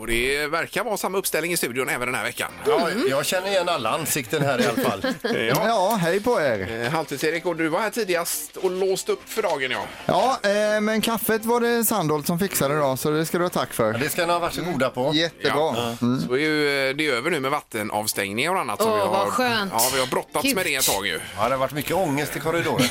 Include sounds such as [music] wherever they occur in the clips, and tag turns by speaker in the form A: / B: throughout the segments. A: Och det verkar vara samma uppställning i studion även den här veckan.
B: Ja, jag känner igen alla ansikten här i alla fall.
C: Ja. hej på er.
A: Eh, Halvtids-Erik, och du var här tidigast och låst upp för dagen, ja.
C: Ja, eh, men kaffet var det Sandholt som fixade idag, så det ska du ha tack för.
B: Det ska ni ha goda på.
C: Jättebra. Mm.
A: Så är ju eh, det är över nu med vattenavstängningar och annat. som
D: Åh,
A: vi har,
D: vad skönt.
A: Ja, vi har brottats
D: Kul.
A: med det ett tag ju.
B: Ja, det har varit mycket ångest i
C: [laughs]
B: korridoren.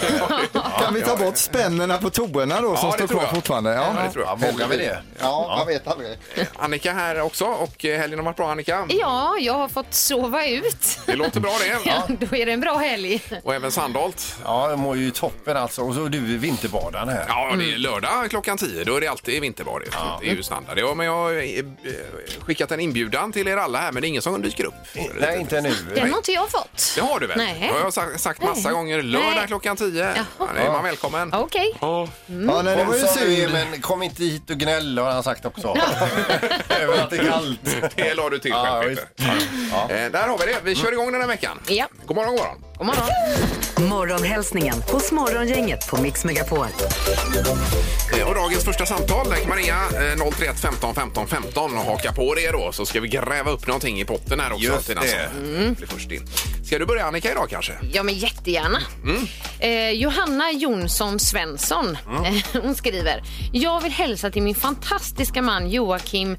C: Kan vi ta bort spännerna på toorna då som
A: det
C: står
A: tror
C: kvar
A: jag.
C: fortfarande? Mm.
A: Ja, det tror
B: Ja,
A: jag.
B: vågar vi det?
C: Ja, jag vet aldrig.
A: Annika här också, och eh, helgen har varit bra, Annika.
D: Ja, jag har fått sova ut.
A: Det låter bra det.
D: Då är det en bra helg.
A: Och även Sandholt.
B: Ja, jag mår ju toppen alltså. Och så du är vinterbadaren här.
A: Ja, och
D: Mm.
A: det är lördag klockan 10. Då är det alltid vinterbad. det. Det är ju standard. Ja, men jag har eh, skickat en inbjudan till er alla här, men det är ingen som dyker upp.
B: Eh, Nej, inte nu.
D: Den har inte jag fått.
A: Det har du väl?
D: Nej.
A: Det har jag sa- sagt massa
D: Nej.
A: gånger. Lördag
D: Nej.
A: klockan 10. Ja, det är man välkommen.
D: Okej.
C: Ja, nej, det var ju
B: Som du är,
C: synd.
B: Men kom inte hit och gnäll har han sagt också. [laughs] Även att det är kallt.
A: Det la du till
B: Ja,
A: själv, Peter. Ja. Eh, Där har vi det. Vi kör igång den här veckan.
D: Ja.
A: God morgon, god morgon.
D: God morgon.
E: Morgonhälsningen hos Morgongänget på Mix Megapol.
A: Eh, Och dagens första samtal, lägg Maria eh, 031 15 15 15 och haka på det då så ska vi gräva upp någonting i potten här också.
B: Just
A: till den
B: det.
A: som blir först in. Ska du börja Annika idag kanske?
D: Ja, men jättegärna.
A: Mm.
D: Eh, Johanna Jonsson Svensson, eh, [laughs] hon skriver. Jag vill hälsa till min fantastiska man Joakim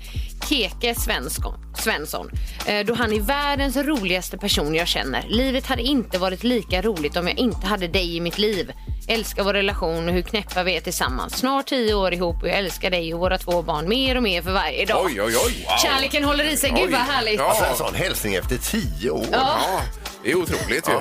D: Keke Svensson. Svensson, eh, då han är världens roligaste person jag känner. Livet hade inte varit lika roligt om jag inte hade dig i mitt liv. Älskar vår relation och hur knäppa vi är tillsammans. Snart tio år ihop och jag älskar dig och våra två barn mer och mer för varje dag.
A: Oj, oj, oj. Wow.
D: Kärleken håller i sig. Gud
A: Oj.
D: vad härligt.
A: Ja.
B: Alltså en sån hälsning efter tio år.
A: Ja, det är otroligt ju.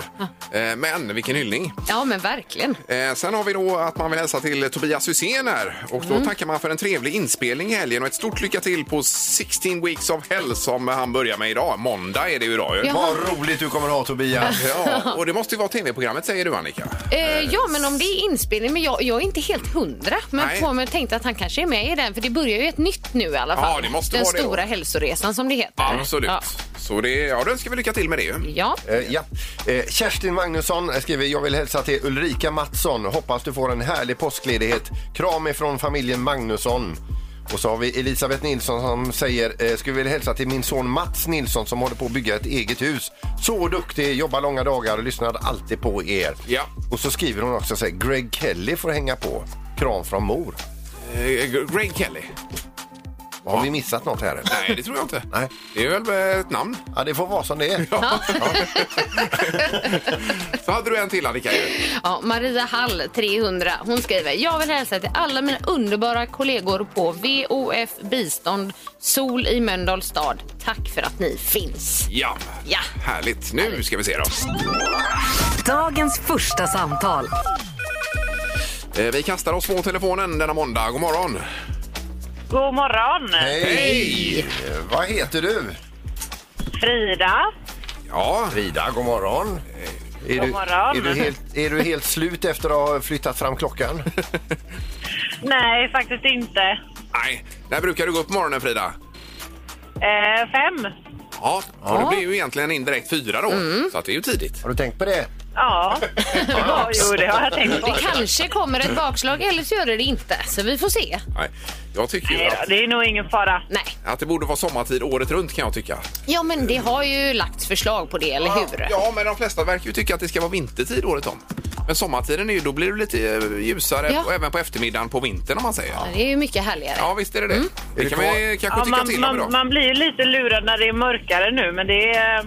A: Eh, Men vilken hyllning.
D: Ja, men verkligen.
A: Eh, sen har vi då att man vill hälsa till Tobias Hysén här. Och
D: Mm.
A: då tackar man för en trevlig inspelning i helgen och ett stort lycka till på 16 Weeks of Hell som han börjar med idag. Måndag är det ju idag ju.
D: Ja.
B: Vad roligt du kommer ha
C: [laughs]
B: Tobias.
A: Ja, och det måste ju vara tv-programmet säger du Annika.
D: Eh, ja, men om det är inspelning. Men jag, jag är inte helt hundra. Men
A: Nej.
D: på mig tänkte att han kanske är med i den. För det börjar ju ett nytt nu i alla
A: Ja,
D: fall.
A: det måste
D: den
A: vara det då.
D: stora hälsoresan som det heter.
A: Absolut.
D: Ja.
A: Så det, ja, då önskar vi lycka till med det ju.
D: ja.
B: Eh, Ja. Eh, Kerstin Magnusson skriver Jag vill hälsa till Ulrika Mattsson. Hoppas du får en härlig påskledighet. Kram ifrån familjen Magnusson. Och så har vi Elisabeth Nilsson som säger eh, Skulle vilja hälsa till min son Mats Nilsson som håller på att bygga ett eget hus. Så duktig, jobbar långa dagar och lyssnar alltid på er.
A: Ja.
B: Och så skriver hon också så här, Greg Kelly får hänga på. Kram från mor.
A: Eh, Greg Kelly?
B: Har vi missat något här? eller?
A: Nej, det tror jag inte.
B: Nej.
A: Det är väl eh, ett namn.
B: Ja, det får vara som det är.
A: Så hade du en till Annika ju.
D: Ja, Maria Hall, 300, hon skriver Jag vill hälsa till alla mina underbara kollegor på VOF Bistånd Sol i Mölndals stad. Tack för att ni finns.
A: Ja.
D: Ja.
A: Härligt. Nu ska vi se då.
E: Dagens första samtal.
A: Eh, Vi kastar oss på telefonen denna måndag. God morgon.
F: God morgon.
B: Hej! Eh, Vad heter du?
F: Frida.
A: Ja,
B: Frida, god morgon. Är
F: God
B: du,
F: morgon.
B: Är du, helt, är du helt slut efter att ha flyttat fram klockan?
F: Nej, faktiskt inte.
A: nej. När brukar du gå upp på morgonen Frida?
F: Eh, fem.
A: Ja, ja. det blir ju egentligen indirekt fyra då. Så att det är ju tidigt.
B: Har du tänkt på det?
F: Ja. ja, jo det har jag tänkt på.
D: Det kanske kommer ett bakslag eller så gör det det inte. Så vi får se.
A: Nej. Jag tycker ju
F: Nej då,
A: att,
F: det är nog ingen fara.
D: Nej.
A: att det borde vara sommartid året runt kan jag tycka.
D: Ja, men det har ju lagts förslag på det, eller hur?
A: Ja, men de flesta verkar ju tycka att det ska vara vintertid året om. Men sommartiden är ju, då blir det lite eh, ljusare
D: Ja.
A: och även på eftermiddagen på vintern om man säger. Ja,
D: Det är ju mycket härligare.
A: visst är det det. Det
B: Är
A: kan
B: det kvar-
A: vi kanske
F: Ja,
A: tycka
F: man,
A: till om
F: man,
A: idag.
F: man blir ju lite lurad när det är mörkare nu men det, är,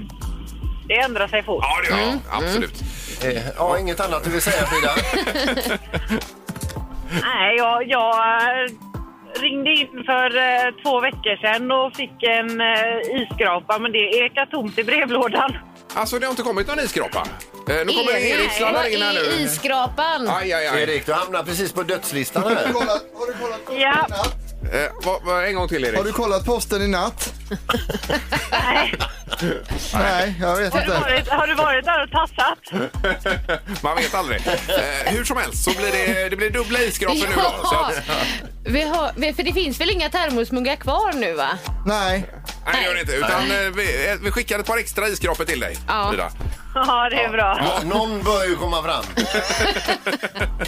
F: det ändrar sig fort.
A: Ja, det gör jag. Absolut.
B: Eh, ja, inget annat du vill säga Frida?
F: Nej, jag, jag eh, ringde in för eh, två veckor sedan och fick en eh, isskrapa men det ekar tomt i brevlådan.
A: Alltså, det har inte kommit någon isskrapa? Eh, nu kommer
D: Erik,
A: Erik sladdar in här
D: vad är
A: nu.
D: Iskrapan.
A: Aj, aj, aj.
B: Erik, du hamnar precis på dödslistan här.
C: Har du kollat posten
F: Ja.
A: Eh, vad, vad, en gång till, Erik.
C: Har du kollat posten i natt?
F: Nej,
C: Nej, jag vet
F: har, du
C: inte.
F: varit, har du varit där och tassat?
A: Man vet aldrig. Eh, hur som helst så blir det, det blir dubbla isskrapor nu
D: Ja.
A: då. Så att,
D: Vi har, för det finns väl inga termosmuggar kvar nu va?
C: Nej.
A: Nej, det gör det inte. Utan eh, vi, eh, vi skickar ett par extra iskrapor till dig,
D: Ja.
A: Frida.
F: Ja, det är bra.
B: Nå- Någon bör ju komma fram.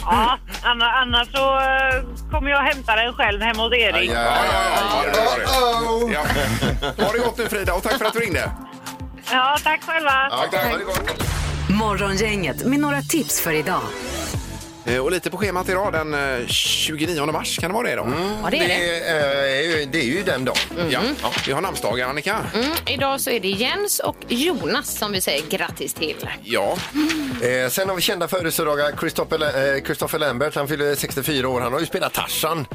F: Ja, anna- annars så eh, kommer jag hämta den själv hemma hos Erik.
A: Ja, ja, ja, ja, det var det.
C: Oh.
A: Ja. Ha det gott nu Frida och tack för att du ringde.
F: Ja, tack själva.
B: Ja, tack. Ha det gott.
E: Morgongänget med några tips för idag.
A: Eh, Och lite på schemat idag den eh, 29 mars kan det vara det idag?
D: Ja, det är det.
B: Det är, eh, är ju- det är ju den dagen.
A: Ja. ja, vi har namnsdagar Annika.
D: Mm, idag så är det Jens och Jonas som vi säger grattis till.
A: Ja,
B: Eh, sen har vi kända födelsedagar. Christopher, eh, Christopher Lambert, han fyller 64 år. Han har ju spelat Tarzan.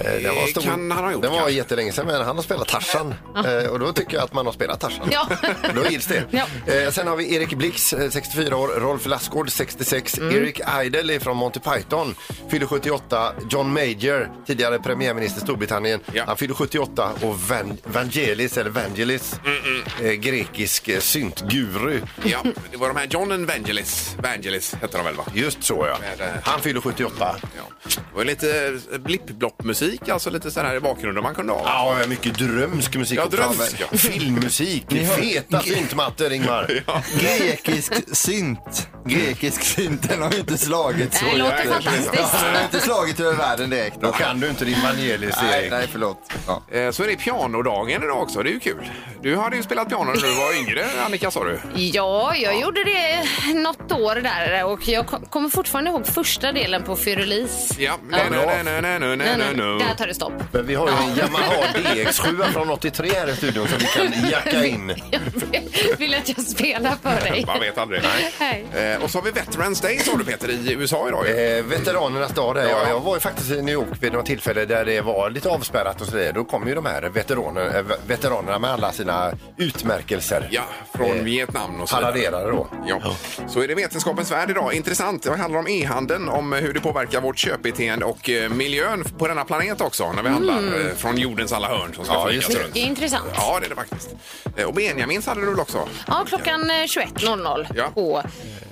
B: Eh, den
A: Eh, kan han ha gjort,
B: Den var
A: kanske.
B: jättelänge sedan, men han har spelat Tarzan. Eh, och då tycker jag att man har spelat Tarzan.
D: Ja.
B: [laughs] Då gills det.
D: Ja.
B: Eh, sen har vi Erik Blix, eh, 64 år. Rolf Lassgård, 66.
D: Mm.
B: Eric Idle från Monty Python, fyller 78. John Major, tidigare premiärminister i Storbritannien,
A: Ja.
B: han fyller 78. Och Van- Vangelis, eller Vangelis,
A: Mm,
B: eh, grekisk eh, syntguru.
A: ja, det var de här John and Vangelis. Vangelis hette de väl va?
B: Just så ja.
A: Med, eh,
B: Han fyller 78.
A: Ja. Det var lite blippbloppmusik, alltså lite sån här i bakgrunden man kunde ha. va?
B: Ja, mycket drömsk musik.
A: Ja,
B: också.
A: drömsk, ja.
B: Filmmusik. Feta syntmattor, Ingmar.
C: Grekisk synt. Grekisk synt, den har ju inte slagit så.
D: Det låter
C: jäkla-
D: fantastiskt.
C: Den har inte slagit över världen direkt.
B: Då kan du inte din Vangelis,
C: Nej,
B: Erik.
C: nej, förlåt. Ja.
A: Eh, Så är det pianodagen idag också, det är ju kul. Du hade ju spelat piano när du var yngre Annika sa du.
D: Ja, jag gjorde det något år där och jag kom- kommer fortfarande ihåg första delen på Fyrelis.
A: Ja, nej, nej, nej, nej, nej, nej,
D: Nej, nej,
A: nej,
D: Där
A: nej.
D: tar det stopp. [laughs]
B: Men vi har ju en Yamaha DX7 från 83 här i studion som vi kan jacka in.
D: Jag vill att jag spelar för dig.
A: Man vet aldrig.
D: Nej.
A: Eh, Och så har vi Veterans Day sa du Peter i USA idag ju.
B: Eh, veteranernas dag där.
A: Ja.
B: Jag, jag var ju faktiskt i New York vid något tillfälle där det var lite avspärrat och sådär. Då kom ju de här veteraner, eh, veteranerna med alla sina utmärkelser.
A: Ja, från
B: Eh,
A: Vietnam och så vidare.
B: Paraderade då.
A: Ja. Så är det Vetenskapens värld idag. Intressant. Det handlar om e-handeln, om eh, hur det påverkar vårt köpbeteende och eh, miljön på denna planet också när vi
D: Mm.
A: handlar eh, från jordens alla hörn som ska
B: Ja,
A: flygas
B: just det.
A: runt.
D: Det är intressant.
A: Ja, det är det faktiskt. Eh, Och Benjamins hade du väl också?
D: Ja, klockan eh, 21.00
A: Ja.
D: på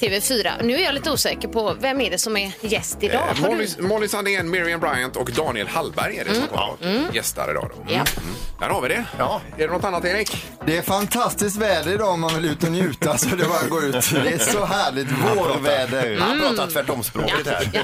D: TV4. Nu är jag lite osäker på vem är det som är gäst idag.
A: Eh,
D: Har du-
A: Molly, Molly Sandén, Miriam Bryant och Daniel Hallberg är det som kommer mm. gästar idag. Då.
D: Ja.
A: Där har vi det.
B: Ja.
A: Är det något annat, Erik?
C: Det är fantastiskt väder idag om man vill ut och njuta så det är bara att gå ut. Det är så härligt vårväder.
B: Han pratar tvärtomspråket här.
A: [laughs]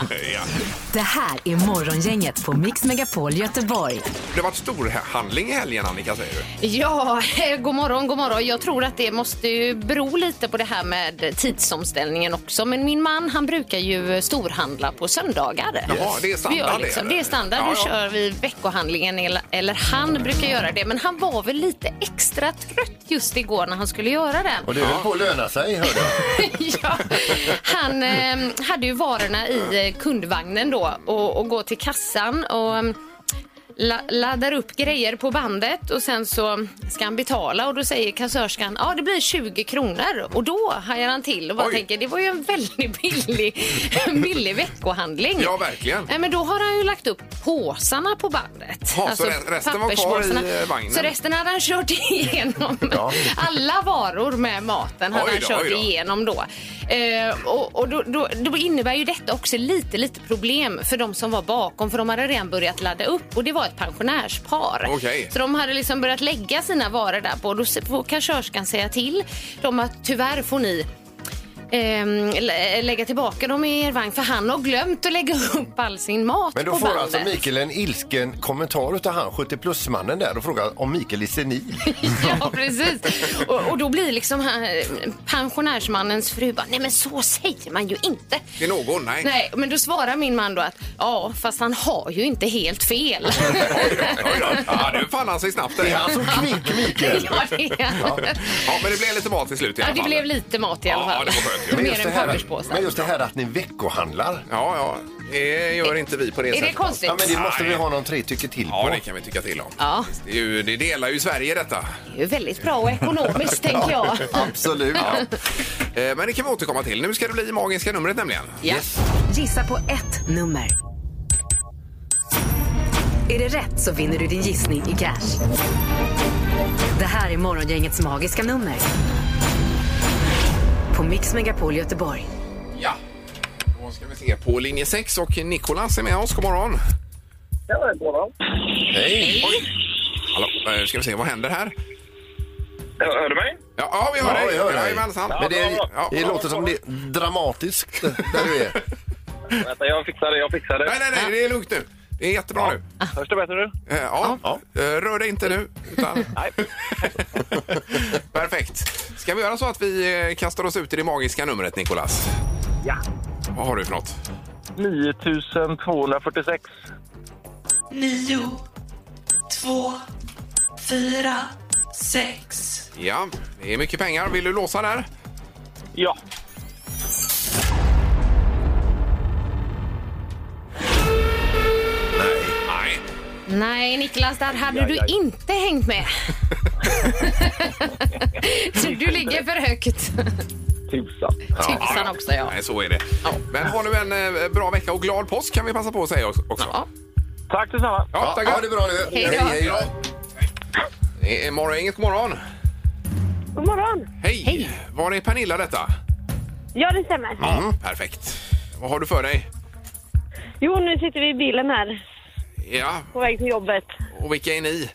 E: Det här är Morgongänget på Mix Megapol Göteborg.
A: Det har varit stor handling i helgen, Annika, säger du.
D: Ja, eh, god morgon, god morgon. Jag tror att det måste ju bero lite på det här med tidsomställningen också. Men min man, han brukar ju storhandla på söndagar.
A: Jaha, det är standard
D: Vi gör
A: det,
D: liksom-
A: eller?
D: det är standard.
A: Ja,
D: Då
A: ja.
D: kör vi veckohandlingen, eller, eller han brukar göra det. Men han var väl lite extra trött just igår när han skulle göra den.
B: Och det höll på att löna sig, hörde jag.
D: [laughs] ja, han eh, hade ju varorna i eh, kundvagnen då och, och går till kassan och eh, la, laddar upp grejer på bandet och sen så ska han betala och då säger kassörskan ja det blir 20 kronor och då hajar han till och bara
A: Oj.
D: tänker det var ju en väldigt billig, [laughs] billig veckohandling.
A: Ja, verkligen.
D: Nej, men då har han ju lagt upp påsarna på bandet. Alltså,
A: Ja, så re- resten var kvar i,
D: papperspåsarna.
A: eh, vagnen.
D: Så resten hade han kört igenom. [laughs] Alla varor med maten hade
A: Oj
D: han
A: då,
D: kört
A: oj då.
D: igenom då. Eh, och och då, då, då innebär ju detta också lite, lite problem för de som var bakom för de hade redan börjat ladda upp och det var ett pensionärspar.
A: Okej.
D: Så de hade liksom börjat lägga sina varor där på och då se- får kassörskan säga till dem att tyvärr får ni ehm, lä- lägga tillbaka dem i er vagn för han har glömt att lägga upp all sin mat
B: Men då
D: på
B: får
D: bandet.
B: alltså
D: [laughs]
B: Mikael en ilsken kommentar utav han 70-plus-mannen där och frågar om Mikael är
D: [laughs]
B: senil.
D: Ja, precis. Och, och då blir liksom han, pensionärsmannens fru bara, nej men så säger man ju inte.
A: Till någon? Nej.
D: Nej, men då svarar min man då att ja, fast han har ju inte helt
A: [laughs] [laughs]
D: fel.
A: Oj då, oj då. Ja, nu fann han sig snabbt. där.
B: Det är han som kvick, alltså, Mikael.
D: ja, det, är-
A: Ja, men det blev lite mat till slut i
D: ja,
A: alla
D: det
A: fall.
D: blev lite mat i alla
A: Ja,
D: fall.
A: det var skönt ju. Men
D: Mer än
B: men
D: papperspåsar.
B: just det här att ni veckohandlar.
A: Ja, ja. Det gör inte vi på det
D: Är
A: sättet.
D: det konstigt?
B: Ja, men det måste vi ha någon tre tycker till
A: Ja,
B: på.
A: det kan vi tycka till om.
D: Ja.
A: Det, är ju, det delar ju Sverige detta.
D: Det är ju väldigt bra och
A: [laughs]
D: ekonomiskt, tänker jag.
C: Absolut.
A: Eh, Men det kan vi återkomma till. Nu ska det bli magiska numret nämligen.
D: Ja.
E: Gissa på ett nummer. Är det rätt så vinner du din gissning i cash. Det här är Morgongängets magiska nummer. På Mix Megapol Göteborg.
A: Ja. Då ska vi se på linje 6 och Nikolas är med oss. God morgon.
G: Tjena, god morgon.
B: Hej!
A: Hallå, eh, ska vi se, vad händer här?
G: Hör hör du mig?
A: Ja, ja vi hör
B: Ja,
A: dig.
B: vi hör dig.
A: Jajamensan.
B: Men det,
A: Ja.
B: det låter som det är dramatiskt där
D: [laughs]
B: du är.
D: Mm,
G: Vänta, jag fixar det, jag fixar det.
A: Nej, nej, nej, det är lugnt nu. Det är jättebra nu.
G: Hörs det bättre nu?
A: Eh, Ja.
B: Ja.
A: Eh, Rör dig inte nu.
B: [laughs]
A: Utan...
G: Nej.
A: [laughs] Perfekt. Ska vi göra så att vi eh, kastar oss ut i det magiska numret, Nicolas?
G: Ja.
A: Vad har du för något?
G: 9246.
H: nio, två, fyra, sex.
A: Ja, det är mycket pengar. Vill du låsa där?
G: Ja.
A: Nej. [laughs]
D: Nej, Niklas, där hade du inte hängt med. Så du ligger för högt.
G: Tusan.
D: Tusan också, ja.
A: Nej, så är det. Men ha nu en eh, bra vecka och glad påsk kan vi passa på att säga också.
D: ja.
G: Tack detsamma.
A: Ja,
B: Ja,
A: tack.
B: ha det bra nu!
D: Hej då.
A: Eh, Morgon, inget god morgon.
I: God morgon!
A: Hej. Var är Pernilla detta?
I: Ja, det stämmer.
A: Mm, perfekt. Vad har du för dig?
I: Jo, nu sitter vi i bilen här
A: Ja,
I: på väg till jobbet.
A: och vilka är ni?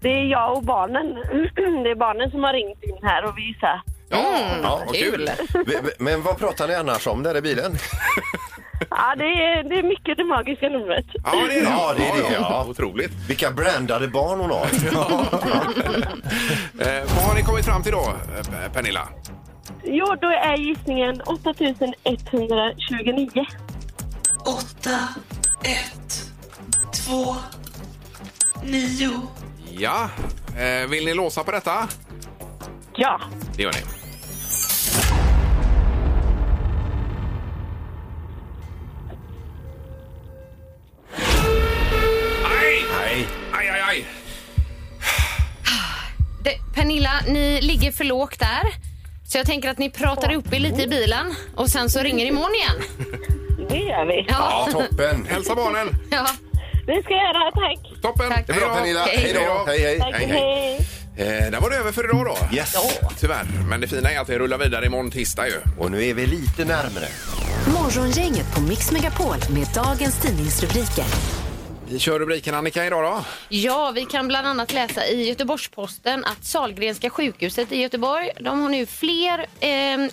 I: Det är jag och barnen. [clears throat] Det är barnen som har ringt in här och visat.
A: Ja,
B: Ja,
A: vad
D: Kul!
B: Men- Men vad pratar ni annars om där i bilen?
I: Ja, det är, det är mycket det magiska numret.
A: Ja, det är det.
B: Ja, det är det, ja.
A: Otroligt.
B: Vilka brandade barn hon har!
A: Eh, vad har ni kommit fram till då, eh, Pernilla?
I: Jo, då är gissningen 8129.
H: åtta, ett, två, nio,
A: Ja, eh, vill ni låsa på detta?
I: Ja.
A: Det gör ni. Aj!
B: Nej,
A: Aj, aj, aj!
D: Det, Pernilla, ni ligger för lågt där. Så jag tänker att ni pratar upp er lite i bilen och sen så ringer imorgon igen.
I: Det gör vi.
D: Ja,
B: toppen!
A: Hälsa barnen!
D: ja.
I: Det ska jag göra. Tack.
A: Toppen!
D: Tack.
B: Det är bra Pernilla, hej då! Hej hej!
I: Tack.
A: Hej,
I: Hej,
A: hej.
I: hej.
A: Eh, där var det över för idag då.
B: Yes!
A: Tyvärr, men det fina är att det rullar vidare imorgon tisdag ju.
B: Och nu är vi lite närmare.
E: Morgongänget på Mix Megapol med dagens tidningsrubriker.
A: Vi kör rubriken Annika idag då.
D: ja, vi kan bland annat läsa i Göteborgs-Posten att Sahlgrenska sjukhuset i Göteborg, de har nu fler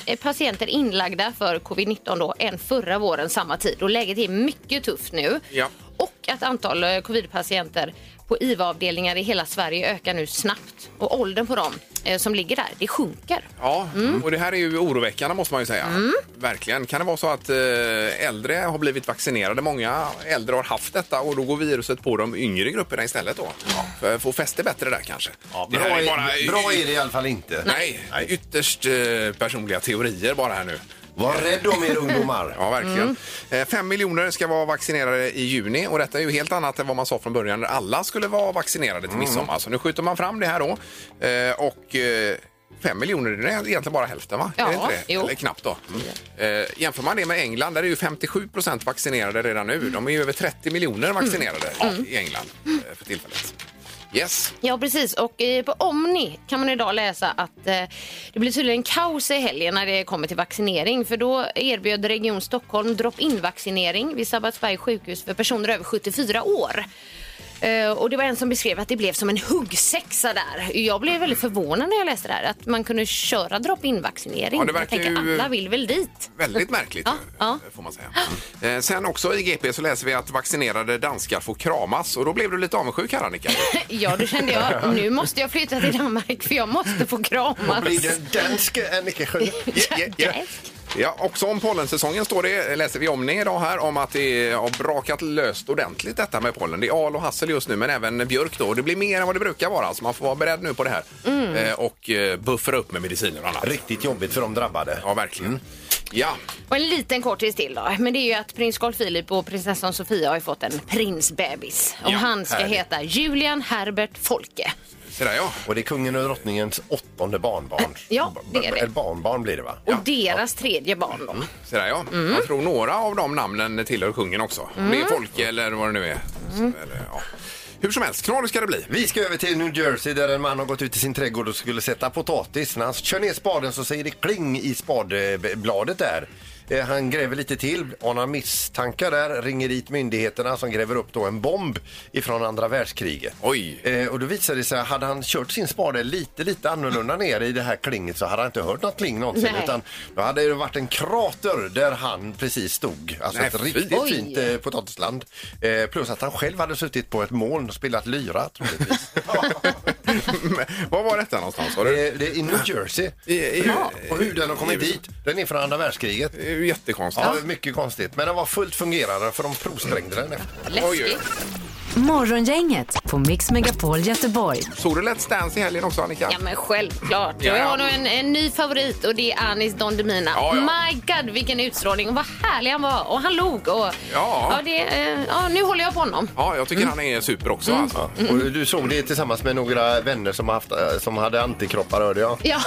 D: eh, patienter inlagda för covid-19 då än förra våren samma tid. Och läget är mycket tufft nu.
A: Ja.
D: Och att antal eh, covid-patienter på IVA-avdelningar i hela Sverige ökar nu snabbt. Och åldern på dem eh, som ligger där, det sjunker.
A: Ja,
B: Mm.
A: och det här är ju oroväckande måste man ju säga. Verkligen. Kan det vara så att eh, äldre har blivit vaccinerade? Många äldre har haft detta och då går viruset på de yngre grupperna istället då. För att få fäste bättre där kanske.
B: Bra
A: det här
B: är, bra är det i alla fall inte.
A: Nej, ytterst eh, personliga teorier bara här nu.
B: Var rädd om er ungdomar!
A: Ja, verkligen.
D: Mm.
A: Eh, Fem miljoner ska vara vaccinerade i juni och detta är ju helt annat än vad man sa från början när alla skulle vara vaccinerade
D: Mm.
A: till midsommar. Så nu skjuter man fram det här då. Eh, Och eh, fem miljoner, det är egentligen bara hälften va?
D: Ja,
A: är det inte det?
D: jo.
A: Eller knappt då. Eh, Jämför man det med England där är ju 57 procent vaccinerade redan nu. De är ju över 30 miljoner
D: Mm.
A: vaccinerade i England eh, för tillfället. Yes.
D: Ja, precis. Och eh, på Omni kan man idag läsa att eh, det blir tydligen kaos i helgen när det kommer till vaccinering. För då erbjöd Region Stockholm drop-in-vaccinering vid Sabbatsbergs sjukhus för personer över 74 år. Eh, Och det var en som beskrev att det blev som en huggsexa där. Jag blev väldigt förvånad när jag läste det här, att man kunde köra drop-in-vaccinering.
A: Ja, det verkar
D: jag tänker,
A: ju-
D: alla vill väl dit? [laughs]
A: Väldigt märkligt,
D: Ja, ja.
A: får man säga. Eh, Sen också i GP så läser vi att vaccinerade danskar får kramas och då blev du lite avundsjuk här Annika.
D: Ja, då kände jag, nu måste jag flytta till Danmark för jag måste få kramas.
B: Blir det danske Annika Sjö?
A: Ja, ja, ja. Ja, också om pollensäsongen står det, läser vi om det idag här, om att det har brakat löst ordentligt detta med pollen. Det är al och hassel just nu, men även björk då. Och Det blir mer än vad det brukar vara, så man får vara beredd nu på det här. Eh, och eh, buffra upp med mediciner och annat.
B: Mm. Riktigt Mm. jobbigt för de drabbade.
A: Ja, verkligen. Ja,
D: Och en liten kortis till då. Men det är ju att prins Carl Philip och prinsessan Sofia har ju fått en prinsbebis. Och
A: Ja,
D: han ska
B: härligt.
D: heta Julian Herbert Folke.
A: se där ja.
B: Och det är kungen och drottningens åttonde barnbarn.
D: Ja, det är det.
B: Eller barnbarn blir det va?
D: Och deras tredje barn då.
A: Se där, ja.
B: Mm.
A: Jag tror några av de namnen tillhör kungen också. Om det är Folke eller vad det nu är. Så,
B: Mm.
A: eller, ja. Hur som helst, knorr ska
B: [laughs]
A: det bli. [laughs]
B: Vi ska över till New Jersey där en man har gått ut i sin trädgård och skulle sätta potatis. När han kör ner spaden så säger det kling i spadbladet där. Eh, Han gräver lite till, anar misstankar där, ringer dit myndigheterna som gräver upp då en bomb ifrån andra världskriget.
A: Oj.
B: Eh, och då visade det sig, hade han kört sin spade lite, lite annorlunda ner i det här klinget så hade han inte hört något kling någonsin.
D: Nej.
B: Utan då hade det varit en krater där han precis stod. Alltså
A: Nej,
B: ett
A: fy.
B: riktigt
D: Oj.
B: fint eh, potatisland. Eh, plus att han själv hade suttit på ett moln och spelat lyra
A: [laughs]
B: troligtvis.
A: Var var detta någonstans? Var det?
B: Eh, det är i New Jersey.
A: I- i-
B: ja, och hur den har kommit
A: i-
B: dit, den är från andra världskriget.
A: Det är ju jättekonstigt.
B: Ja, mycket konstigt. Men den var fullt fungerande för de provsprängde den efter.
A: Oj,
D: Läskigt.
E: Morgongänget på Mix Megapol Göteborg.
A: Såg du Let's Dance i helgen också, Annika?
D: Ja, men självklart.
A: Ja, ja.
D: Jag har nu en, en ny favorit och det är Anis Don Demina.
A: Ja, ja.
D: My God, vilken utstrålning och vad härlig han var. Och han log och... Ja, det, eh, ja nu håller jag på honom.
A: Ja, jag
C: Mm.
A: tycker han är super också. Alltså.
C: [laughs]
B: Och du såg det tillsammans med några vänner som, haft, eh, som hade antikroppar hörde jag.
D: Ja,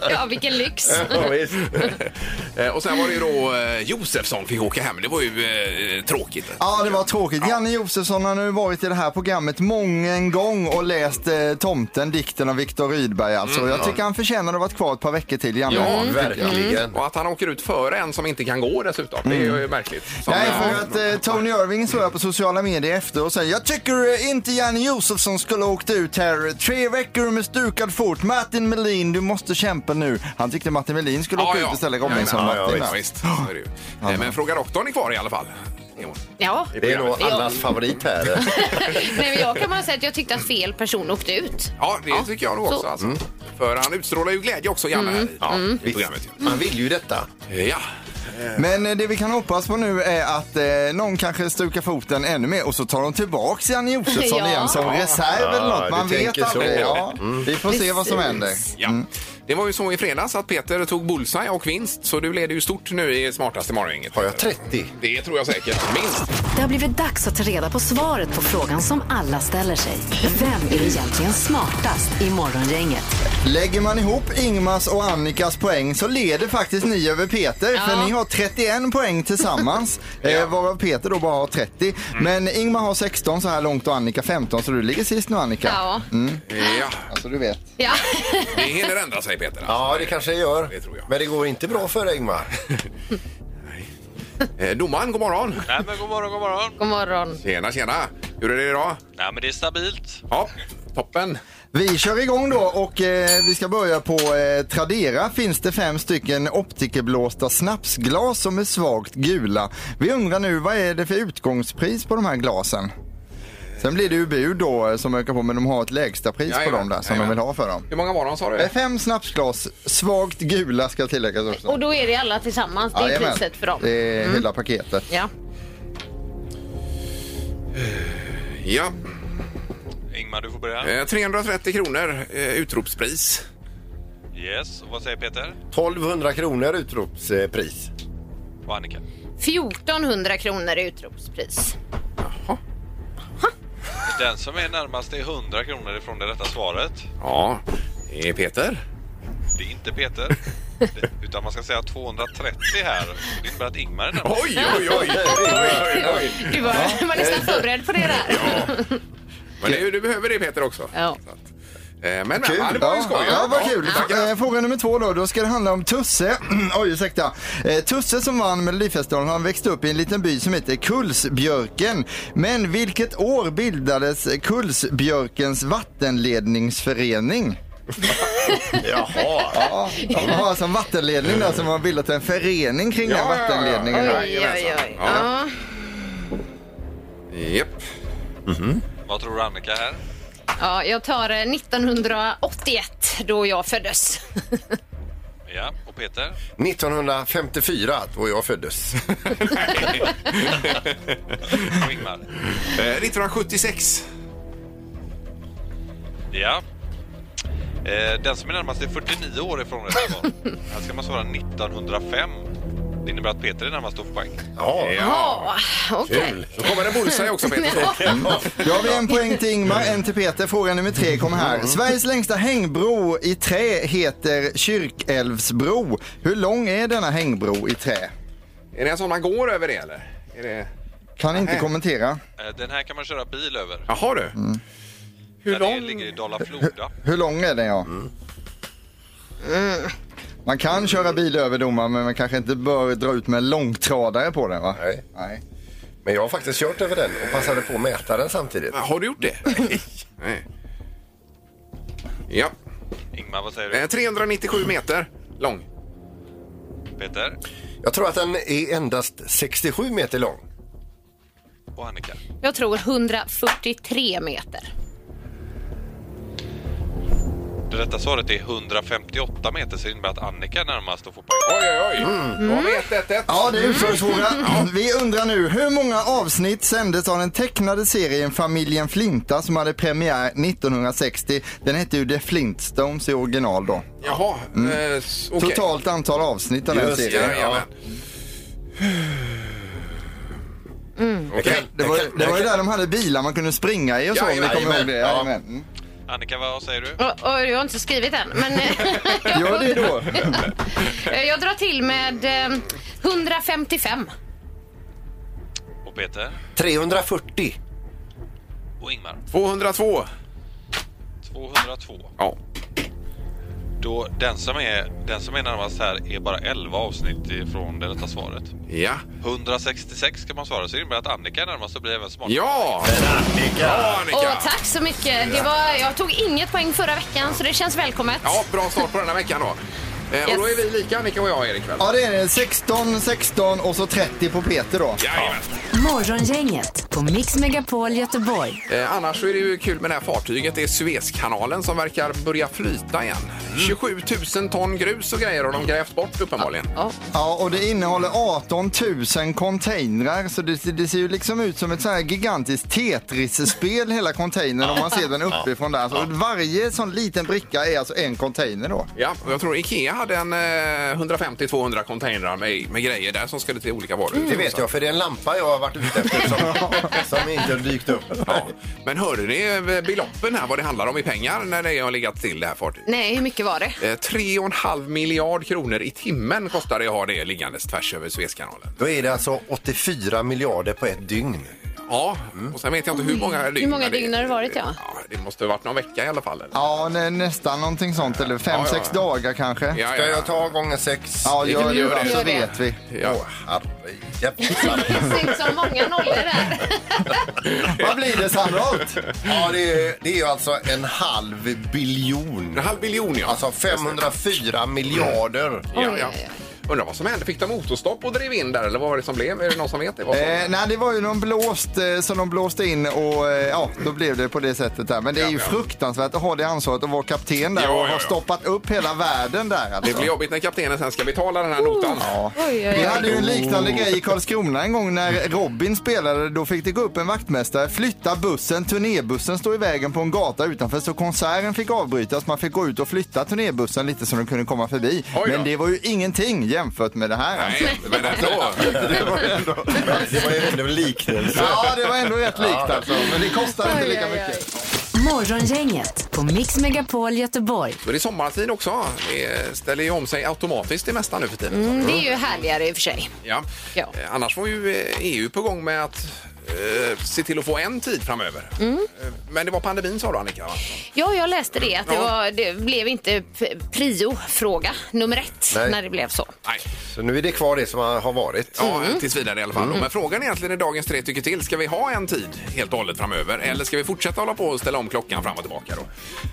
D: [laughs] ja vilken lyx.
B: Ja, visst.
A: Eh, Och sen var det ju då eh, Josefsson fick åka hem. Det var ju eh, tråkigt.
C: Ja, det var tråkigt. Janne Josefsson har nu varit i det här programmet många en gång och läst eh, Tomten, dikten av Viktor Rydberg alltså. jag tycker han förtjänar att vara kvar ett par veckor till, Janne.
A: Mm.
B: Ja, verkligen.
A: Och att han åker ut före en som inte kan gå dessutom. Det är ju märkligt. Som,
C: Mm. Nej,
A: eh,
C: för att eh, Tony Irving såg jag på sociala medier efter och säger Jag tycker eh, inte Janne Josefsson skulle ha åkt ut här. Tre veckor med stukad fot. Martin Melin, du måste kämpa nu. Han tyckte Martin Melin skulle åka ut istället. Robinson,
A: ja, ja,
C: Martin.
A: visst, visst. Så är det ju. Eh, Men Fråga doktorn är kvar i alla fall. Jo.
D: Ja.
B: Det är nog
D: Ja.
B: allas favorit
A: [laughs]
B: här.
D: Nej, men jag kan bara säga att jag tyckte att fel person åkte ut.
A: Ja, det tycker jag nog också.
D: Så.
A: Alltså.
C: Mm.
A: För han utstrålar ju glädje också, Janne, här i- i programmet. ju. Mm.
B: Man vill ju detta.
A: Ja.
C: Men eh, det vi kan hoppas på nu är att eh, någon kanske stukar foten ännu mer och så tar de tillbaks Janne Josefsson
D: Ja.
C: igen som reserv eller
B: Ja,
C: något.
B: du
C: Man vet
B: tänker så.
C: aldrig. Ja,
A: Mm.
C: vi får se vad som händer.
A: Ja.
C: Mm.
A: Det var ju så i fredags att Peter tog bullseye och vinst, så du leder ju stort nu i smartaste morgongänget.
B: Har jag 30?
A: Det tror jag säkert. Minst.
E: Det har blivit dags att ta reda på svaret på frågan som alla ställer sig. Vem är egentligen smartast i morgongänget?
C: Lägger man ihop Ingmars och Annikas poäng så leder faktiskt ni över Peter för ni har 31
A: [laughs]
C: poäng tillsammans eh, varav Peter då bara har 30.
A: Mm.
C: Men Ingmar har 16 så här långt och Annika 15 så du ligger sist nu Annika.
D: Ja.
A: Mm. Eh, Ja.
C: Alltså du vet.
D: Ja.
A: Det hinner ändra sig, Peter. alltså.
B: Ja, det kanske jag gör.
A: Det tror jag.
B: Men det går inte bra för Ingmar.
A: Eh, Domaren, god morgon!
G: Nej, men god morgon, god morgon.
D: God morgon.
A: Tjena, tjena! Hur är det idag?
G: Nej, men det är stabilt.
A: Ja, toppen!
C: Vi kör igång då och eh, vi ska börja på eh, Tradera finns det fem stycken optikerblåsta snapsglas som är svagt gula. Vi undrar nu vad är det för utgångspris på de här glasen? Sen blir det ju bud då eh, som ökar på men de har ett lägsta pris på
A: Jajamän,
C: dem där som
A: jajamän.
C: de vill ha för dem.
A: Hur många var de, sa
C: Det är
A: du?
C: Eh, Fem snapsglas, svagt gula ska tilläggas också.
D: Och då är det alla tillsammans. Det är
C: Jajamän.
D: priset för dem. Mm.
C: Det är hela paketet.
D: Ja.
A: Ja,
G: Ingmar, du får börja.
A: eh, 330 kronor eh, utropspris.
G: Yes, och vad säger Peter?
B: 1200 kronor utropspris.
G: Och Annika?
D: 1400 kronor i utropspris.
G: Den som är närmast är 100 kronor ifrån det rätta svaret.
A: Ja, det är Peter.
G: Det är inte [laughs] Peter. Utan man ska säga 230 här. Det innebär att Ingmar är närmast.
A: Oj, oj, oj!
D: Du var, [laughs] var nästan förberedd på det där.
A: Men det, är ju- du behöver det, Peter, också.
D: Ja.
A: Eh, Men, men
C: Kul.
A: ja, det var ju
C: ja,
A: skoj.
C: ja, vad kul.
A: tackar.
C: Eh, Fråga nummer två då. Då ska det handla om Tusse. [clears throat] Oj, ursäkta. Eh, Tusse som vann Melodifestivalen, han växte upp i en liten by som heter Kullsbjörken. Men vilket år bildades
A: [laughs]
C: Kullsbjörkens vattenledningsförening?
B: Jaha.
C: Ja, de har alltså en vattenledning där som har bildat en förening kring den
A: Ja, ja, ja.
C: vattenledningen.
D: Oj,
C: där.
D: oj, oj.
A: Ja.
D: Ja.
A: Japp.
G: Vad tror Annika här?
D: Ja, jag tar eh, 1981, då jag föddes.
G: Ja, och Peter?
B: 1954 då jag
C: [laughs]
B: föddes.
G: Och Ingmar?
A: Eh, 1976.
G: Ja. Eh, Den som är närmast är 49 år ifrån rätt
A: [laughs]
G: svar. Här ska man svara 1905. Det innebär att Peter är närmast och får poäng.
B: Ja.
D: Ja, okej.
A: Då kommer en bullseye också, [laughs]
C: [laughs]
A: Peter.
C: Då har vi en poäng till Ingmar, en till Peter. Fråga nummer tre kommer här. Sveriges längsta hängbro i trä heter Kyrkälvsbro. Hur lång är denna hängbro i trä?
A: Är det en sån man går över det, eller? Är det...
C: Kan inte kommentera.
G: Eh, Den här kan man köra bil över.
A: Jaha, du.
C: Mm.
A: Hur
G: Den är-
A: lång?
G: ligger i Dala-Floda.
C: Hur lång är den ja? Man kan köra bil över domaren men man kanske inte bör dra ut med långtradare på den va?
B: Nej. Men jag har faktiskt kört över den och passade på att mäta den samtidigt.
A: Eh, Har du gjort det? Nej. Ja,
G: Ingmar, vad säger
A: Eh,
G: du?
A: 397 meter lång.
G: Peter
B: Jag tror att den är endast 67 meter lång.
G: och Annika.
D: Jag tror 143 meter.
G: Det rätta svaret är 158 meter, så det innebär att Annika är närmast och får poäng.
A: Oj, oj, oj. Då har vi 1 1
C: Mm. Ja, det är utförsfråga. Vi undrar nu, hur många avsnitt sändes av den tecknade serien Familjen Flinta som hade premiär 1960? Den hette ju The Flintstones i original då.
A: Jaha, eh, s- okej.
C: Mm. Totalt antal avsnitt av den här
B: Just det,
C: serien.
A: Jajamän. Mm.
B: Okej.
C: Det var, det var ju där de hade bilar man kunde springa i och så om ni kommer
B: Jajamän.
C: ihåg det.
B: Ja.
C: Jajamän. Mm.
G: Annika, vad säger du?
D: Och, och jag har inte skrivit än, men eh,
C: Mm. Gör det då.
D: [laughs] jag drar till med eh, 155.
G: Och Peter
B: 340.
G: och Ingmar.
A: 202.
G: 202.
A: Ja.
G: Då den som är, den som är närmast här är bara 11 avsnitt ifrån det rätta svaret.
A: Ja.
G: 166 kan man svara, så det innebär att Annika är närmast och blir även smartast.
A: Ja! Bra, Annika!
D: Och tack så mycket. Det var, jag tog inget poäng förra veckan, så det känns välkommet.
A: Ja, bra start på den här veckan då. Eh, Och
D: Yes.
A: då är vi lika, Annika och jag, Erik. Väl?
C: Ja, det är det. 16, 16 och så 30 på Peter då.
A: Jajamän.
E: Morgongänget på Mix Megapol Göteborg.
A: Eh, annars så är det ju kul med det här fartyget. Det är Suezkanalen som verkar börja flyta igen. 27 000 ton grus och grejer har de grävt bort uppenbarligen.
C: Ja, och det innehåller 18 000 containrar så det, det ser ju liksom ut som ett så här gigantiskt Tetris-spel hela containern om man ser den uppifrån där. Så varje sån liten bricka är alltså en container då.
A: Ja, och jag tror Ikea hade en eh, 150-200 containrar med, med grejer där som skulle till olika varor.
B: Mm. Det vet jag, för det är en lampa jag har varit ute efter som,
C: [laughs]
B: som inte har dykt upp.
A: Ja. Men hörde ni eh, beloppen här, vad det handlar om i pengar när det har legat till det här fartyget?
D: Nej, hur mycket var det?
A: Eh, 3,5 miljard kronor i timmen kostar det att ha det liggandes tvärs över Suezkanalen.
B: Då är det alltså 84 miljarder på ett dygn.
A: Ja, och sen vet jag inte hur många dygn.
D: många dygn har det varit, ja?
A: ja? Det måste ha varit någon vecka i alla fall. Eller?
C: Ja, nä, nästan någonting sånt eller fem,
A: Ja, ja,
C: sex
A: ja.
C: dagar kanske. Ja,
B: Ska jag ta gånger sex?
C: gör
A: gör
C: det va,
A: det.
C: så
D: Gör det.
C: vet vi.
A: Ja.
B: Herrejävlar.
D: Det ser ut som många nollor där.
C: [laughs] Vad blir det Sandholt?
B: Ja, det är, det är ju alltså en halv biljon.
A: En halv biljon, ja. Mm.
B: Alltså 504 miljarder.
A: ja, ja. Undrar vad som hände. Fick de motorstopp och drev in där eller vad var det som blev? Är det någon som vet det? Vad som-
C: Eh, nej, det var ju någon blåst eh, som de blåste in och eh, ja, då blev det på det sättet där. Men det är ju
A: Ja, ja.
C: fruktansvärt att ha det ansvaret att vara kapten där
A: Ja,
C: och
A: ja,
C: ha
A: ja.
C: stoppat upp hela världen där
A: Det
C: alltså.
A: blir jobbigt när kaptenen sen ska betala den här notan.
C: Ja.
D: Oj, oj, oj.
C: Vi hade ju en liknande grej i Karlskrona en gång när Robin spelade. Då fick det gå upp en vaktmästare, flytta bussen, turnébussen stod i vägen på en gata utanför så konserten fick avbrytas. Man fick gå ut och flytta turnébussen lite så de kunde komma förbi.
A: Oj då.
C: Men det var ju ingenting jämfört med det här. alltså.
A: Nej, men ändå.
C: Det var ju ändå...
B: Det var ju ändå en liknelse.
C: Ja, det var ändå rätt likt alltså. Men det kostade inte lika
D: Oj, oj, oj.
C: mycket.
E: Morgongänget på Mix Megapol Göteborg.
A: Då är det sommartid också. Det ställer ju om sig automatiskt det mesta nu för tiden.
D: Det är ju härligare i och för sig.
A: Ja.
D: Mm. Ja.
A: Eh, Annars var ju eh, EU på gång med att eh, se till att få en tid framöver. Eh, Men det var pandemin sa du Annika? va?
D: Ja, jag läste det. Att det,
A: Ja.
D: var, det blev inte p- prio-fråga nummer ett
B: Nej.
D: när det blev så.
A: Nej.
B: Så nu är det kvar det som har varit.
A: Ja,
D: Mm.
A: tills vidare i alla fall. Men frågan är egentligen i dagens tre tycker till. Ska vi ha en tid helt och hållet framöver? Eller ska vi fortsätta hålla på och ställa om klockan fram och tillbaka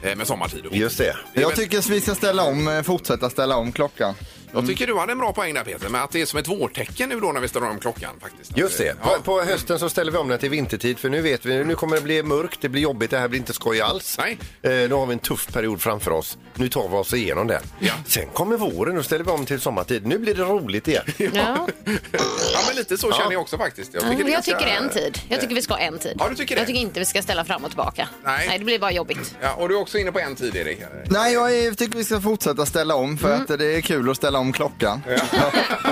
A: då? Eh, Med sommartid och
B: Just det.
C: Jag tycker att vi ska ställa om, eh, fortsätta ställa om klockan.
A: Jag tycker du hade en bra poäng där Peter, med att det är som ett vårtecken nu då när vi ställer om klockan faktiskt.
B: Just det.
A: Ja.
B: På, på hösten så ställer vi om det till vintertid för nu vet vi, nu kommer det bli mörkt, det blir jobbigt, det här blir inte skoj alls.
A: Nej.
B: Eh, då har vi en tuff period framför oss. Nu tar vi oss igenom den.
A: Ja.
B: Sen kommer våren och ställer vi om till sommartid. Nu blir det roligt igen.
D: Ja.
A: ja, men lite så känner jag också faktiskt. Jag
D: Jag,
A: det är
D: tycker
A: ganska-
D: en tid. Jag tycker vi ska ha en tid.
A: Ja, du tycker det?
D: jag tycker inte vi ska ställa fram och tillbaka.
A: Nej.
D: det blir
A: [laughs]
D: bara jobbigt.
A: Ja, och du är också inne på en tid Erik?
D: Mm.
A: eller?
C: Nej, jag är- tycker vi ska fortsätta ställa om för att det är kul att ställa om klockan.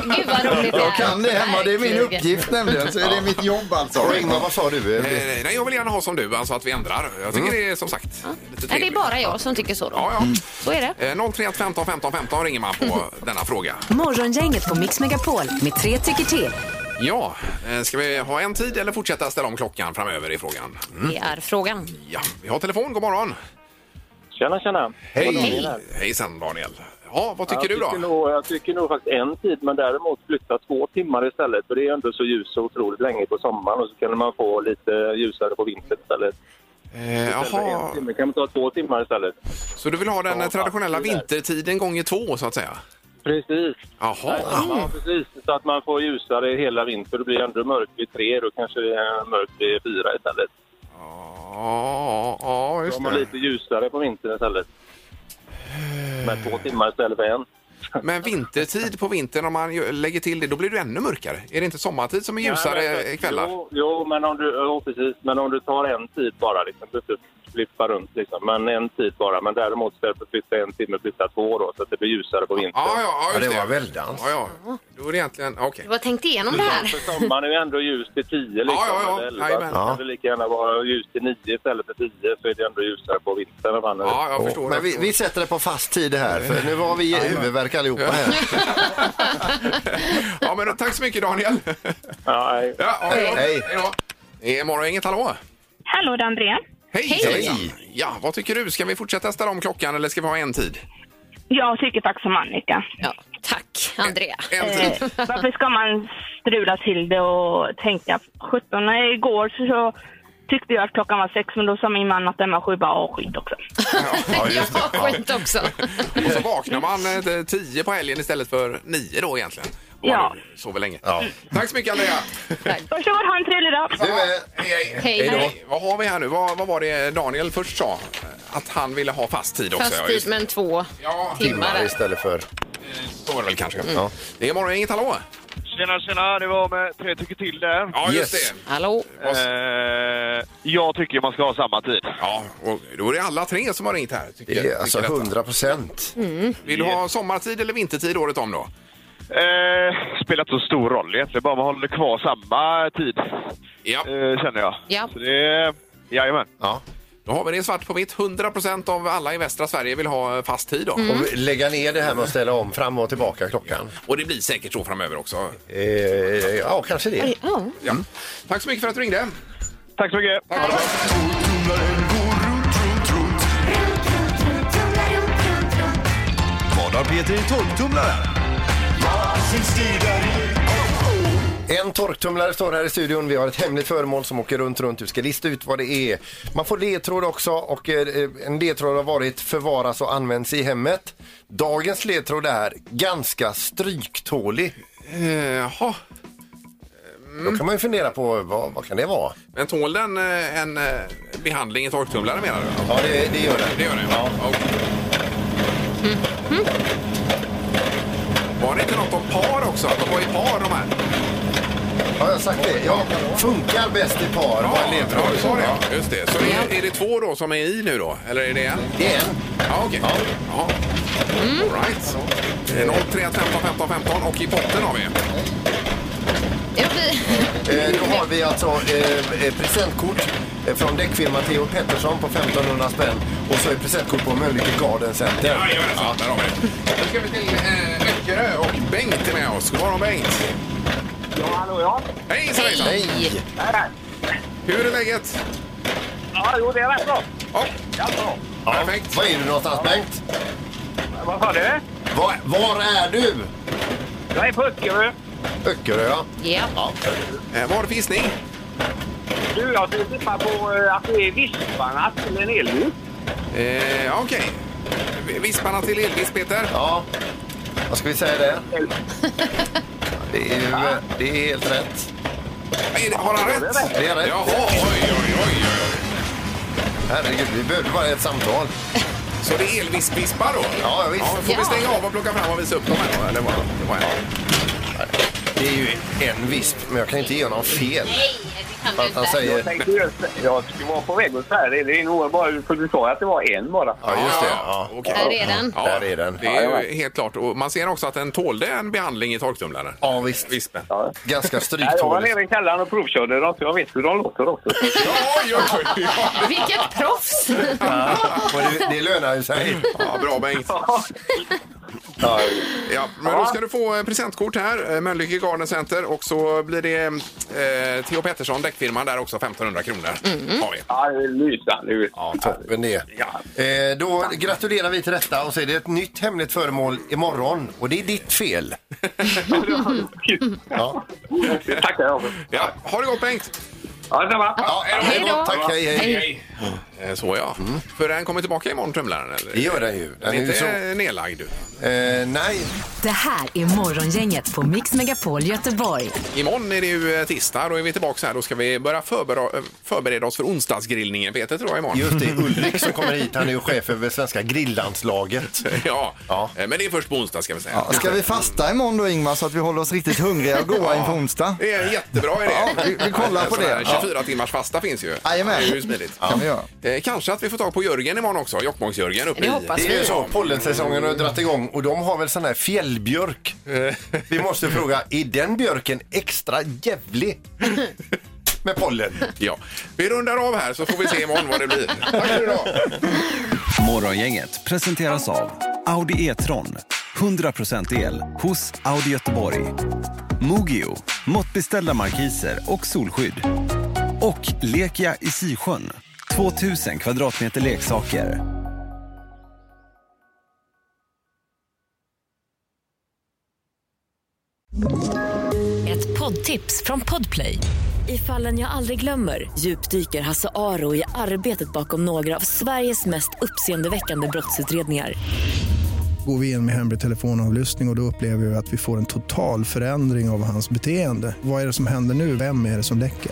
D: Gud vad roligt det är.
C: Jag kan det hemma, det är min
D: Verkligen.
C: uppgift nämligen. Så det är mitt jobb alltså.
B: Och Ingmar, vad sa du? Eh,
A: Eh, nej, jag vill gärna ha som du, alltså att vi ändrar. Jag tycker det är som sagt lite
D: Nej, Mm. det är
A: trevligt.
D: bara jag som tycker så då. Mm.
A: Ja, ja.
D: Så är det.
A: Eh, 031 15 15 15 ringer man
D: [laughs]
A: på denna fråga.
E: Morgongänget på Mix Megapol med tre tycker till.
A: Ja, eh, ska vi ha en tid eller fortsätta ställa om klockan framöver i frågan?
D: Det är frågan.
A: Ja, vi har telefon. God morgon!
J: Tjena, tjena.
A: Hej!
D: Hej.
A: Hejsan Daniel! Ja, vad tycker
J: jag
A: du då?
J: Tycker nog, jag tycker nog faktiskt en tid, men däremot flytta två timmar istället. För det är ändå så ljus och otroligt länge på sommaren och så kan man få lite ljusare på vintern istället.
A: Eh,
J: Istället för
A: jaha,
J: en timme kan man ta två timmar istället.
A: så du vill ha den
J: Ja,
A: traditionella
J: det är där.
A: vintertiden gånger två så att säga?
J: Precis.
A: Jaha.
J: Ja, precis. Så att man får ljusare hela vintern. Det blir ändå mörkt vid tre, då kanske det är mörkt vid fyra istället.
A: Ja, ja,
J: Då har
A: just
J: man
A: det.
J: lite ljusare på vintern istället. Med två timmar istället för en.
A: Men vintertid på vintern, om man ju- lägger till det, då blir det ännu mörkare. Är det inte sommartid som är ljusare
J: Nej, men-
A: kvällar?
J: Jo, jo men, om du, ja, precis, men om du tar en tid bara, liksom, du får flippa runt liksom. Men en tid bara. Men däremot istället för att flytta en timme, flytta två då, så att det blir ljusare på vintern.
A: Ja, ja,
B: Ja,
A: just
B: det var väldans.
A: Ja, ja. Då är det egentligen... Okej.
D: Du har tänkt igenom det här.
J: För sommaren är ju ändå ljus till tio liksom,
A: Ja, ja, ja.
J: eller elva.
A: Jajamän.
J: Så kan det lika gärna vara ljus till nio istället för tio, så är det ändå ljusare på vintern. om man-
A: Ja, jag förstår.
B: Men vi, vi sätter det på fast tid här, för nu har vi huvudvärk allihopa här.
A: Ja, men då, tack så mycket Daniel. [laughs]
J: Ja, nej.
A: Ja, ja, ja.
B: Hej.
A: Hej då. Det är morgon, inget hallå.
I: Hallå, det är Andrea.
A: Hej!
D: Hej.
A: Hej. Ja, vad tycker du? Ska vi fortsätta ställa om klockan eller ska vi ha en tid?
I: Jag tycker faktiskt som Annika.
D: Ja, tack, Andrea.
A: En
I: Eh,
F: Mm.
A: tid.
I: varför ska man strula till det och tänka? 17 igår så, så tyckte jag att klockan var sex, men då sa min man att den var sju. Bara, åh, skit också.
D: Ja, skit också.
A: Och så vaknar man eh, tio på helgen istället för nio då egentligen. Om
I: Ja.
A: man nu Sover länge.
B: Ja.
A: Tack så mycket Andrea.
I: Varsågod, ha en trevlig dag.
B: Du är...
A: Hej,
D: Hej.
A: Hej. Vad har vi här nu? Vad, vad var det Daniel först sa? Att han ville ha fast tid också.
D: Fast
A: ja,
D: tid
A: just det.
D: men två
A: Ja,
D: timmar.
B: istället för...
A: så var det väl kanske. Ja. Det är morgon, inget hallå?
J: Tjena, tjena! Det var med tre tycker till där.
A: Ja, just
B: Yes.
A: det.
D: Hallå?
J: Eh, jag tycker man ska ha samma tid.
A: Ja, och då är det alla tre som har ringt här. Tycker,
B: Det är
A: tycker
B: alltså
A: detta.
B: 100 procent.
A: Mm. Vill du ha sommartid eller vintertid året om då?
J: Eh, spelar inte så stor roll egentligen, bara man håller kvar samma tid,
A: Ja,
J: eh, känner jag.
D: Ja.
J: Så det, jajamän.
B: Ja.
A: då har vi det svart på vitt. 100% av alla i västra Sverige vill ha eh, fast tid då.
B: Och vi- lägga ner det här med att ställa om fram och tillbaka klockan.
A: Och det blir säkert så framöver också.
B: Eh, ja, kanske det.
D: Ja.
A: Ja. Tack så mycket för att du ringde.
J: Tack så mycket!
K: Vad har Peter i torktumlaren?
B: En torktumlare står här i studion. Vi har ett hemligt föremål som åker runt, runt. Du ska lista ut vad det är. Man får ledtråd också och eh, en ledtråd har varit förvaras och används i hemmet. Dagens ledtråd är ganska stryktålig.
A: Eh, Jaha,
B: Då kan man ju fundera på vad, vad kan det vara?
A: men tål den eh, en eh, behandling i torktumlare menar du?
B: Ja, det, det gör
A: Det gör den? Ja. Var det inte något om par också? Att de var i par de här?
B: Har jag sagt det? Ja, funkar bäst i par. var en ledtråd.
A: ja, det var det. Just det. Så är, är det två då som är i nu då? Eller är det en?
B: Det är en.
A: Ja, Mm. okej. Ja. All right. Eh, 03 15 15 15 och i botten har vi.
D: Det blir...
B: Eh, Då har vi alltså eh, eh, presentkort eh, från däckfirman Theo Pettersson på 1500 spänn och så är presentkort på Mölnlycke Garden Center.
A: Jajamensan, där har vi det. Nu ska vi till eh, Öckerö och Bengt är med oss. God morgon Bengt!
J: Ja, hallå ja!
A: Hejsan hejsan!
B: Hej!
A: Hur är läget?
J: Ja, jo det är rätt bra.
A: Ja,
J: Ja, bra.
A: perfekt.
B: Var är du någonstans Bengt?
J: Vad sa du?
B: Var, var är du?
J: Jag är på Öckerö.
B: Öckerö ja.
D: Ja.
A: Eh, vad har du för gissning?
J: Du, jag skulle tippa på eh, att det är visparna till en elbil.
A: Eh, ja, Okej. Vi- Visparna till Elvis, Peter.
B: Ja. Vad ska vi säga där? Det är, ju, eh, det är helt rätt.
A: Är det- Har han rätt?
B: Det är rätt.
A: Jaha, oj, oj, oj. oj.
B: Herregud, vi behövde bara ett samtal.
A: Så det är Elvis-vispar då?
B: Ja, visst.
A: Ja, får vi
D: Ja.
A: stänga av och plocka fram och visa upp dem här då? Eller vad? Det var en.
B: Det är ju en visp, men jag kan inte ge honom fel.
D: Nej, det kan
B: För
D: du
B: att han
D: inte.
J: Jag
B: säger...
J: tänkte just, jag var på väg att säga det. Det är nog bara, för du sa att det var en bara.
B: Ja, just det. Ja.
A: okej.
D: Där är den.
A: Ja,
B: Där är den.
A: Det är ju helt klart. Och man ser också att den tålde en behandling i torktumlaren.
B: Ja, visst.
A: Vispen.
B: Ganska
J: Nej, jag var
B: stryktåligt.
J: nere i källaren och provkörde dem, så jag vet hur de låter också.
A: Oj, oj, oj.
D: Vilket proffs!
B: Och det, det lönar ju sig.
A: Ja, bra Bengt. Ja, men då ska du få eh, presentkort här, eh, Mölnlycke Garden Center och så blir det eh, Theo Pettersson, däckfirman där också, 1500 kronor. Har vi.
J: Ja, det är lysande.
B: Ja, toppen det. Eh, då gratulerar vi till detta och så är det ett nytt hemligt föremål imorgon och det är ditt fel. ja.
J: Det tackar jag för.
A: Ja, ha det gott Bengt!
J: Ja, detsamma.
B: Ja, är det
D: Hej då.
B: gott? Tack, hej, hej.
D: Hej.
A: Eh, Så ja. För den kommer tillbaka imorgon, Trumlaren? Eller?
B: Mm. Det gör den ju. Den
A: Den
B: är
A: är
B: ju
A: inte
B: så.
A: eh, nedlagd.
B: Eh, nej,
L: Det här är Morgongänget på Mix Megapol Göteborg.
A: Imorgon är det ju eh, tisdag, då är vi tillbaka här. Då ska vi börja förbera- eh, förbereda oss för onsdagsgrillningen, Peter, tror jag, imorgon.
B: just det. Ulrik som kommer hit, han är ju chef över svenska grillandslaget.
A: Ja.
B: Ja.
A: Eh, men det är först på onsdag ska vi säga.
M: Ja, ska vi fasta imorgon då Ingmar så att vi håller oss riktigt hungriga och goa inför onsdag?
A: Det är en jättebra idé.
M: Ja, vi- vi kollar på
A: Sån här
M: det.
A: 24 timmars fasta finns ju.
M: Jajamän.
A: Det är ju smidigt.
M: Kan vi göra.
A: Eh, kanske att vi får tag på Jörgen imorgon också, Jokkmokks-Jörgen uppe
D: Det
A: i.
D: hoppas
B: Det är ju så, pollensäsongen har dragit igång och de har väl sån här fjällbjörk. Vi måste fråga, är den björken extra jävlig? Med pollen.
A: Ja. Vi rundar av här så får vi se imorgon vad det blir. Tack för idag!
C: Morgongänget presenteras av Audi E-tron. 100% el hos Audi Göteborg. Mogio, måttbeställda markiser och solskydd. Och Lekia i Sisjön, 2000 kvadratmeter leksaker.
E: Ett poddtips från Podplay. I fallen jag aldrig glömmer djupdyker Hasse Aro i arbetet bakom några av Sveriges mest uppseendeväckande brottsutredningar.
N: Går vi in med hemlig telefonavlyssning och, och då upplever vi att vi får en total förändring av hans beteende. Vad är det som händer nu? Vem är det som läcker?